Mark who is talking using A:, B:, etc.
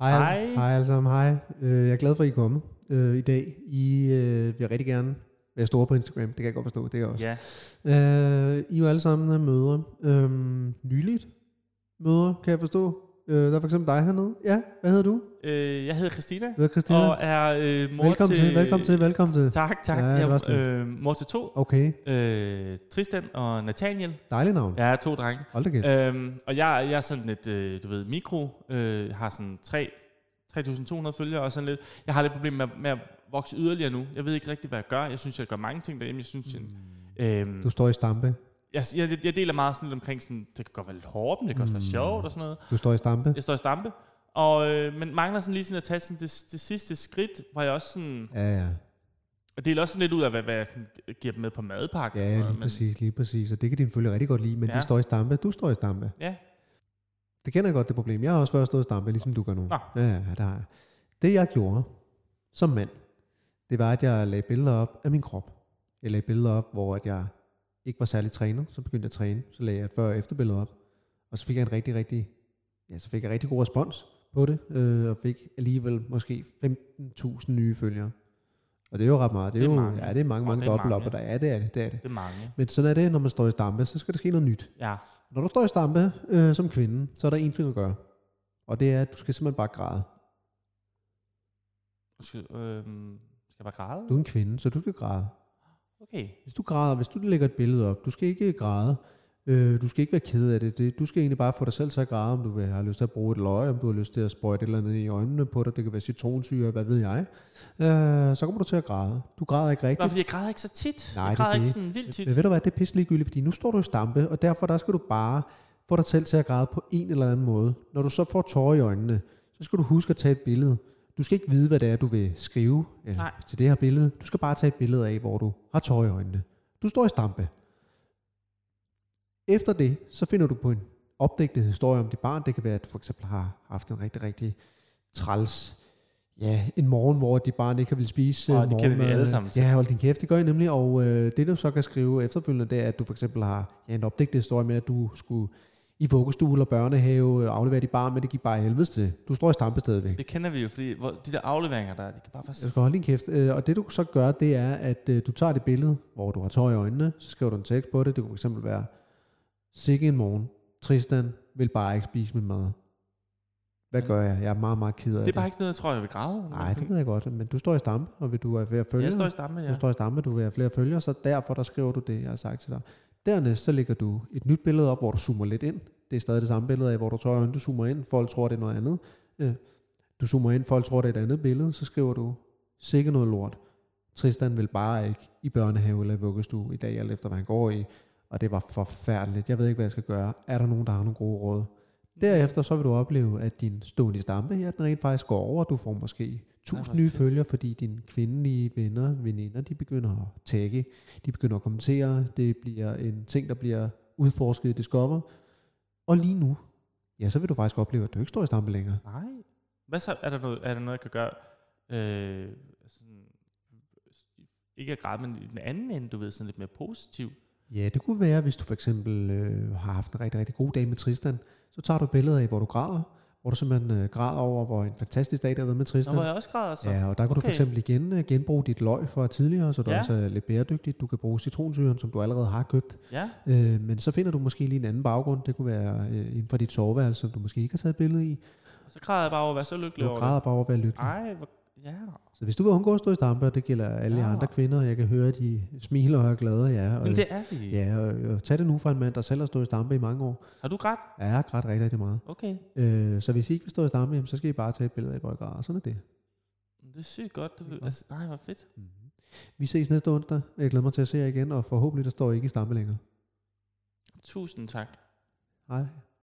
A: Hej.
B: Hej.
A: Hej, hej alle sammen, hej. Øh, jeg er glad for, at I er kommet øh, i dag. I øh, vil rigtig gerne være store på Instagram, det kan jeg godt forstå, det er jeg også.
B: Ja,
A: Yeah. Øh, I er jo alle sammen øh, mødre. Øh, nyligt mødre, kan jeg forstå. Øh, der er for eksempel dig hernede. Ja, hvad hedder du?
B: øh, jeg hedder Christina,
A: Hvad hedder Christina?
B: og er øh, mor
A: velkommen til, velkommen til, velkommen til.
B: Tak, tak.
A: Ja,
B: Ja,
A: det var
B: jeg
A: sådan.
B: er øh, mor til to.
A: Okay,
B: Øh, Tristan og Nathaniel.
A: dejligt navn. Ja.
B: Jeg er to drenge.
A: Hold da kæft.
B: Øhm, og jeg, jeg er sådan lidt, øh, du ved, mikro. Øh, har sådan tre- 3.200 følgere og sådan lidt. Jeg har lidt problemer med, med at vokse yderligere nu. Jeg ved ikke rigtig, hvad jeg gør. Jeg synes, jeg gør mange ting derhjemme. Jeg synes,
A: Mm.
B: jeg, øhm,
A: Du står i stampe.
B: jeg, jeg, jeg deler meget sådan lidt omkring, sådan, det kan godt være lidt hårdt, men det kan også være
A: Mm.
B: sjovt og sådan noget.
A: Du står i stampe.
B: Jeg står i stampe. Og, øh, men mangler sådan lige sådan at tage sådan det, det sidste skridt, hvor jeg også sådan...
A: Ja, ja.
B: Og deler også sådan lidt ud af, hvad, hvad jeg sådan giver dem med på madpakke. og
A: Ja,
B: sådan
A: lige
B: noget, men-
A: præcis, lige præcis. Og det kan dine følge rigtig godt lide, men ja. de
B: Ja.
A: står i stampe. Du står i stampe.
B: Ja.
A: Det kender jeg godt, det problem. Jeg har også før stået i stampe, ligesom du gør nu.
B: Nå.
A: Ja, ja, det har jeg. Det jeg gjorde som mand, det var, at jeg lagde billeder op af min krop. Jeg lagde billeder op, hvor at jeg ikke var særlig trænet. Så begyndte jeg at træne. Så lagde jeg et før- og efterbillede op. Og så fik jeg en rigtig, rigtig, ja, så fik jeg rigtig god respons på det. Øh, og fik alligevel måske 15.000 nye følgere. Og det er jo ret meget. Det er,
B: Det er
A: jo,
B: mange.
A: ja, det er mange,
B: Og
A: mange
B: det er
A: dobbelt op,
B: mange.
A: og der er det, er det, det er det.
B: Det er mange.
A: Men sådan er det, når man står i stampe, så skal der ske noget nyt.
B: Ja.
A: Når du står i stampe øh, som kvinde, så er der en ting at gøre. Og det er, at du skal simpelthen bare græde.
B: Undskyld, øhm, skal jeg bare græde?
A: Du er en kvinde, så du skal græde.
B: Okay.
A: Hvis du græder, hvis du lægger et billede op, du skal ikke græde. Øh, du skal ikke være ked af det. det. Du skal egentlig bare få dig selv til at græde, om du vil have lyst til at bruge et løg, om du har lyst til at sprøjte et eller andet i øjnene på dig. Det kan være citronsyre, hvad ved jeg. Øh, så kommer du til at græde. Du græder ikke
B: Bare
A: rigtigt.
B: fordi jeg græder ikke så tit.
A: Nej,
B: jeg
A: det er
B: græder
A: det.
B: ikke sådan vildt tit.
A: Men ved du hvad, det er pisse ligegyldigt, fordi nu står du i stampe, og derfor der skal du bare få dig selv til at græde på en eller anden måde. Når du så får tårer i øjnene, så skal du huske at tage et billede. Du skal ikke vide, hvad det er, du vil skrive øh,
B: Nej.
A: til det her billede. Du skal bare tage et billede af, hvor du har tårer i øjnene. Du står i stampe. Efter det, så finder du på en opdigtet historie om dit barn. Det kan være, at du for eksempel har haft en rigtig, rigtig træls Ja, en morgen, hvor dit barn ikke har ville spise
B: Åh,
A: øh,
B: det kender vi
A: morgenmad.
B: alle sammen til.
A: Ja, hold din kæft, det gør I nemlig. Og øh, det, du så kan skrive efterfølgende, det er, at du for eksempel har ja, en opdigtet historie med, at du skulle i vuggestue eller børnehave øh, aflevere dit barn, men det gik bare helvedes til. Du står i stampe stadigvæk.
B: Det kender vi jo, fordi hvor, de der afleveringer der, de kan bare faktisk...
A: Jeg skal holde din kæft. Øh, Og det du så gør, det er, at øh, du tager det billede, hvor du har tøj i øjnene, så skriver du en tekst på det. Det kunne fx være, sikke en morgen, Tristan vil bare ikke spise min mad. Hvad gør jeg? Jeg er meget, meget ked af det.
B: Det er bare ikke noget, jeg tror, jeg vil græde.
A: Nej, det ved jeg godt, men du står i stampe, og vil du have flere følgere?
B: Jeg står i stamme, ja.
A: Du står i stampe, du vil have flere følgere, så derfor der skriver du det, jeg har sagt til dig. Dernæst så lægger du et nyt billede op, hvor du zoomer lidt ind. Det er stadig det samme billede af, hvor du tør øjnene, du zoomer ind, folk tror, det er noget andet. Øh, Du zoomer ind, folk tror, det er et andet billede, så skriver du, sikke noget lort. Tristan vil bare ikke i børnehave eller i vuggestue i dag, alt efter hvad han går i. Og det var forfærdeligt. Jeg ved ikke, hvad jeg skal gøre. Er der nogen, der har nogle gode råd? Derefter så vil du opleve, at din stående stampe her, den rent faktisk går over. Du får måske
B: Ej,
A: 1000
B: hvor
A: nye
B: fedt.
A: følgere, fordi dine kvindelige venner, veninder, de begynder at tagge, de begynder at kommentere, det bliver en ting, der bliver udforsket i Discover. Og lige nu, ja, så vil du faktisk opleve, at du ikke står i stampe længere.
B: Nej. Hvad så? Er der noget, er der noget jeg kan gøre? Øh, sådan, ikke at græde, men i den anden ende, du ved, sådan lidt mere positiv.
A: Ja, det kunne være, hvis du for eksempel øh, har haft en rigtig, rigtig god dag med Tristan, så tager du et billede af, hvor du græder, hvor du simpelthen øh, græder over, hvor en fantastisk dag det har været med
B: Nå,
A: Tristan.
B: hvor jeg også græder så.
A: Ja, og der kan okay. du for
B: Okay.
A: eksempel igen øh, genbruge dit løg fra tidligere, så du
B: Ja.
A: ja. også er lidt bæredygtigt. Du kan bruge citronsyren, som du allerede har købt.
B: ja.
A: Øh, men så finder du måske lige en anden baggrund. Det kunne være øh, inden for dit soveværelse, som du måske ikke har taget et billede i.
B: Så græder jeg bare over at være så lykkelig
A: Du
B: over
A: græder bare over at være
B: det.
A: lykkelig.
B: Ej, hvor, ja.
A: Så hvis du vil undgå at stå i stampe, og det gælder alle
B: Ja.
A: ja. andre kvinder, jeg kan høre, at de smiler og er glade. Ja, og,
B: Jamen, det er vi.
A: ja, og, og tag det nu fra en mand, der selv har stået i stampe i mange år.
B: Har du grædt?
A: Ja, jeg har grædt rigtig, rigtig meget.
B: Okay.
A: Øh, så hvis I ikke vil stå i stampe, jamen, så skal I bare tage et billede af, hvor I græder. Sådan er det.
B: Det er sygt godt. Det,
A: Det er
B: det
A: godt.
B: altså, nej, hvor fedt.
A: Mhm. Vi ses næste onsdag. Jeg glæder mig til at se jer igen, og forhåbentlig der står I ikke i stampe længere.
B: Tusind tak.
A: Hej.